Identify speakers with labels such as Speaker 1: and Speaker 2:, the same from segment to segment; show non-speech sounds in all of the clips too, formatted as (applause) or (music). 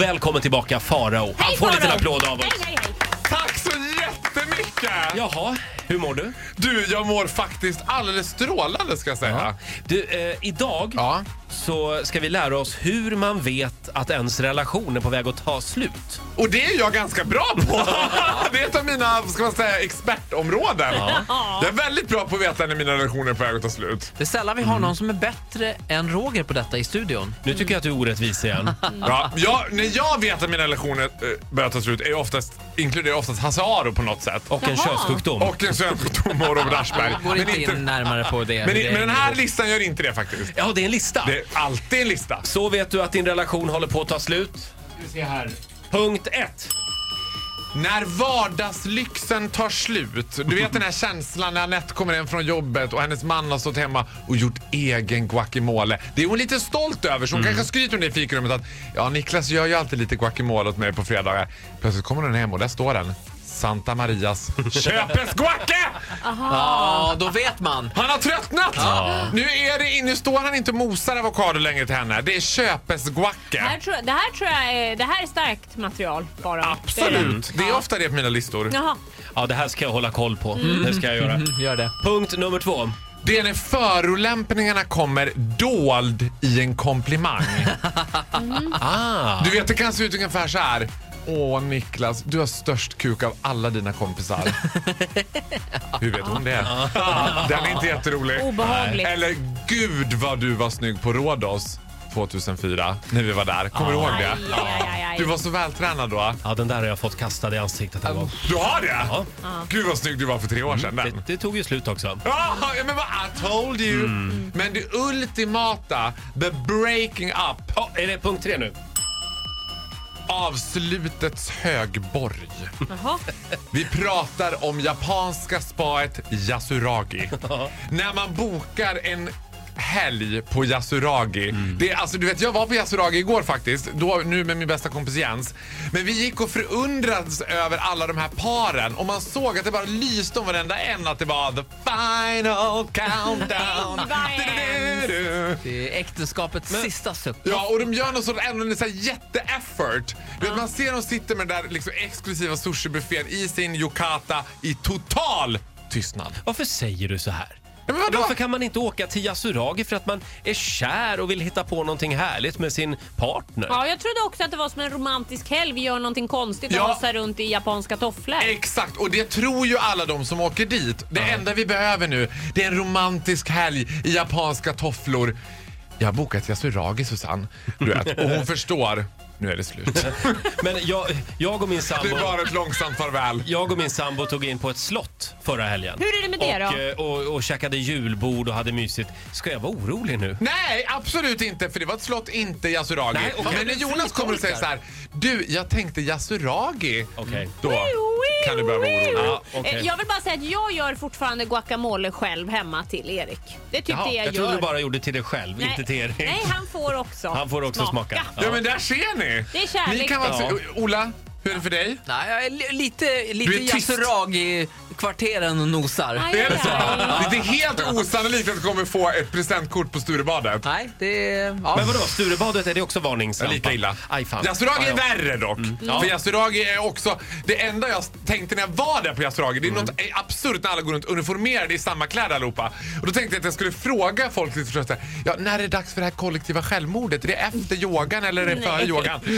Speaker 1: Välkommen tillbaka Farao. Han
Speaker 2: Hej,
Speaker 1: får en liten
Speaker 2: Farao!
Speaker 1: applåd av oss.
Speaker 2: Hej, hej,
Speaker 3: Tack så jättemycket!
Speaker 1: Jaha, hur mår du?
Speaker 3: Du, jag mår faktiskt alldeles strålande ska jag säga.
Speaker 1: Du, eh, idag
Speaker 3: Ja.
Speaker 1: så ska vi lära oss hur man vet att ens relation är på väg att ta slut.
Speaker 3: Och det är jag ganska bra på.
Speaker 4: (laughs)
Speaker 3: det är ett av mina vad ska man säga, expertområden. Jag är väldigt bra på att veta när mina relationer är på väg att ta slut.
Speaker 4: Det är sällan vi
Speaker 3: Mm.
Speaker 4: har någon som är bättre än Roger på detta i studion.
Speaker 1: Nu tycker jag att du är orättvis
Speaker 3: (laughs)
Speaker 1: igen.
Speaker 3: Ja, jag, när jag vet att mina relationer eh, börjar ta slut är jag oftast, inkluderar jag oftast Hasse Aro på något sätt.
Speaker 1: Och en
Speaker 2: Jaha.
Speaker 1: könssjukdom.
Speaker 3: Och en sömnsjukdom och Robert Aschberg.
Speaker 4: Vi Mm. går inte in närmare på det.
Speaker 3: men,
Speaker 4: Det
Speaker 3: i-
Speaker 4: är
Speaker 3: men den här
Speaker 4: nivå.
Speaker 3: listan gör inte det faktiskt.
Speaker 1: Ja, det är en lista.
Speaker 3: Det är alltid en lista.
Speaker 1: Så vet du att din relation håller på att ta slut. Punkt ett.
Speaker 3: När vardagslyxen tar slut. Du vet den här känslan när Anette kommer hem från jobbet och hennes man har stått hemma och gjort egen guacamole. Det är hon lite stolt över så hon kanske skryter om det i fikarummet att ja, Niklas gör ju alltid lite guacamole åt mig på fredagar. Plötsligt kommer hon hem och där står den. Santa Marias Köpes guacke!
Speaker 4: Ja, då vet man.
Speaker 3: Han har tröttnat! Nu, är det, in- nu står han inte och mosar avokado längre till henne. Det är Köpes guacke.
Speaker 2: Här tror, det här tror jag är, det här är starkt material bara.
Speaker 3: Absolut. Det är ofta det på mina listor.
Speaker 2: Jaha.
Speaker 1: Ja, det här ska jag hålla koll på.
Speaker 3: Mm.
Speaker 1: Det ska jag
Speaker 3: (laughs)
Speaker 1: göra.
Speaker 4: Mm, Gör det.
Speaker 1: Punkt nummer två.
Speaker 3: Det är när förolämpningarna kommer dold i en komplimang.
Speaker 1: Ah.
Speaker 3: Du vet, det kan se ut ungefär så här. Åh Niklas, du har störst kuk av alla dina kompisar. Hur vet hon det? Den är inte jätterolig.
Speaker 2: Obehagligt.
Speaker 3: Eller gud vad du var snygg på Rhodos 2004 när vi var där. Kommer du ihåg
Speaker 2: Aj,
Speaker 3: det?
Speaker 2: aj, aj, aj.
Speaker 3: Du var så vältränad då.
Speaker 1: Ja, den där har jag fått kastad i ansiktet en gång.
Speaker 3: Du har det? Gud vad snygg du var för tre år sedan.
Speaker 1: Det,
Speaker 3: Den.
Speaker 1: det tog ju slut också.
Speaker 3: Ah, ja, men vad I told you. Men det ultimata, the breaking up,
Speaker 1: Ja, är det punkt tre nu?
Speaker 3: avslutets högborg.
Speaker 2: Jaha.
Speaker 3: Vi pratar om japanska spaet Yasuragi. När man bokar en helg på Yasuragi. Det, är- alltså, du vet, jag var på Yasuragi igår faktiskt, då, nu med min bästa kompis Jens. Men vi gick och förundrades över alla de här paren och man såg att det bara lyste om varenda en att det var the final countdown.
Speaker 2: Vad hemskt.
Speaker 3: Du-du-du-du.
Speaker 4: Det är äktenskapets sista suck.
Speaker 3: Ja, och de gör någon sorts ändå en sån här jätte-effort. Du vet, Man ser dem sitta med den där liksom exklusiva sushibuffén i sin yokata i total tystnad.
Speaker 1: Varför säger du så här?
Speaker 3: Ja, men vadå?
Speaker 1: Varför kan man inte åka till Yasuragi för att man är kär och vill hitta på någonting härligt med sin partner?
Speaker 2: Ja, jag trodde också att det var som en romantisk helg. Vi gör någonting konstigt och
Speaker 3: Ja.
Speaker 2: hasar runt i japanska tofflor.
Speaker 3: Exakt, och det tror ju alla de som åker dit. Det enda vi behöver nu det är en romantisk helg i japanska tofflor. Jag har bokat Yasuragi, Susanne. Du vet, och (laughs) hon förstår. Nu är det slut.
Speaker 1: Men jag, jag och min
Speaker 3: Det
Speaker 1: sambo...
Speaker 3: är bara ett långsamt farväl.
Speaker 1: Jag och min sambo tog in på ett slott förra helgen.
Speaker 2: Hur är det med det
Speaker 1: och,
Speaker 2: då?
Speaker 1: eh, Och, och käkade julbord och hade mysigt. Ska jag vara orolig nu?
Speaker 3: Nej, absolut inte. För det var ett slott, inte Yasuragi.
Speaker 1: Nej, okej.
Speaker 3: Men när Jonas kommer och säger så här. Du, jag tänkte Yasuragi.
Speaker 1: Okej.
Speaker 3: Då kan du börja vara orolig.
Speaker 1: Ja, okej.
Speaker 2: Eh, Jag vill bara säga att jag gör fortfarande guacamole själv hemma till Erik. Det är typ det
Speaker 1: jag
Speaker 2: jag, gör.
Speaker 1: trodde du bara gjorde till dig själv,
Speaker 2: Nej.
Speaker 1: inte till Erik.
Speaker 2: Nej, han får också
Speaker 1: Han får också smaka.
Speaker 3: Ja, men där ser ni.
Speaker 2: Det är kärlek
Speaker 3: Ni kan vara
Speaker 1: då.
Speaker 3: Ola, hur är det för dig?
Speaker 4: Nej, jag är li- lite,
Speaker 3: Du
Speaker 4: lite
Speaker 3: är tyst.
Speaker 4: Yasuragi-kvarteren och nosar.
Speaker 2: Aj,
Speaker 3: Det är
Speaker 2: aj,
Speaker 3: det så?
Speaker 2: aj.
Speaker 3: Det är helt osannolikt att du kommer få ett presentkort på Sturebadet.
Speaker 4: Nej, det är... Ja.
Speaker 1: Men vadå, Sturebadet, är det också varningslampa?
Speaker 3: Lika illa.
Speaker 1: Aj fan.
Speaker 3: Yasuragi
Speaker 1: Ja,
Speaker 3: är
Speaker 1: ja. Mm.
Speaker 3: värre dock.
Speaker 1: Ja.
Speaker 3: För Yasuragi är också... Det enda jag tänkte när jag var där på Yasuragi, det är
Speaker 1: Mm.
Speaker 3: något absurt när alla går runt uniformerade i samma kläder allihopa. Och då tänkte jag att jag skulle fråga folk lite förstås där, ja, när är det dags för det här kollektiva självmordet? Är det efter yogan eller är det före yogan? (laughs)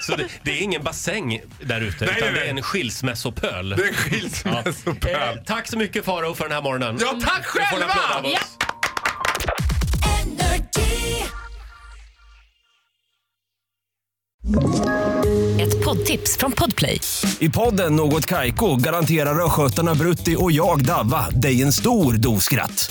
Speaker 1: Så det, det är ingen bassäng där ute,
Speaker 3: Nej,
Speaker 1: utan
Speaker 3: nej,
Speaker 1: det är
Speaker 3: nej.
Speaker 1: en skilsmässopöl.
Speaker 3: Det är skilsmässopöl.
Speaker 1: Eh, Tack så mycket Faro för den här morgonen.
Speaker 3: Ja, tack
Speaker 1: Du får en
Speaker 3: själva!
Speaker 1: applåd av oss.
Speaker 2: Ja.
Speaker 5: Ett poddtips från Podplay.
Speaker 6: I podden Något Kaiko garanterar östgötarna Brutti och jag, Davva, dig en stor dos skratt.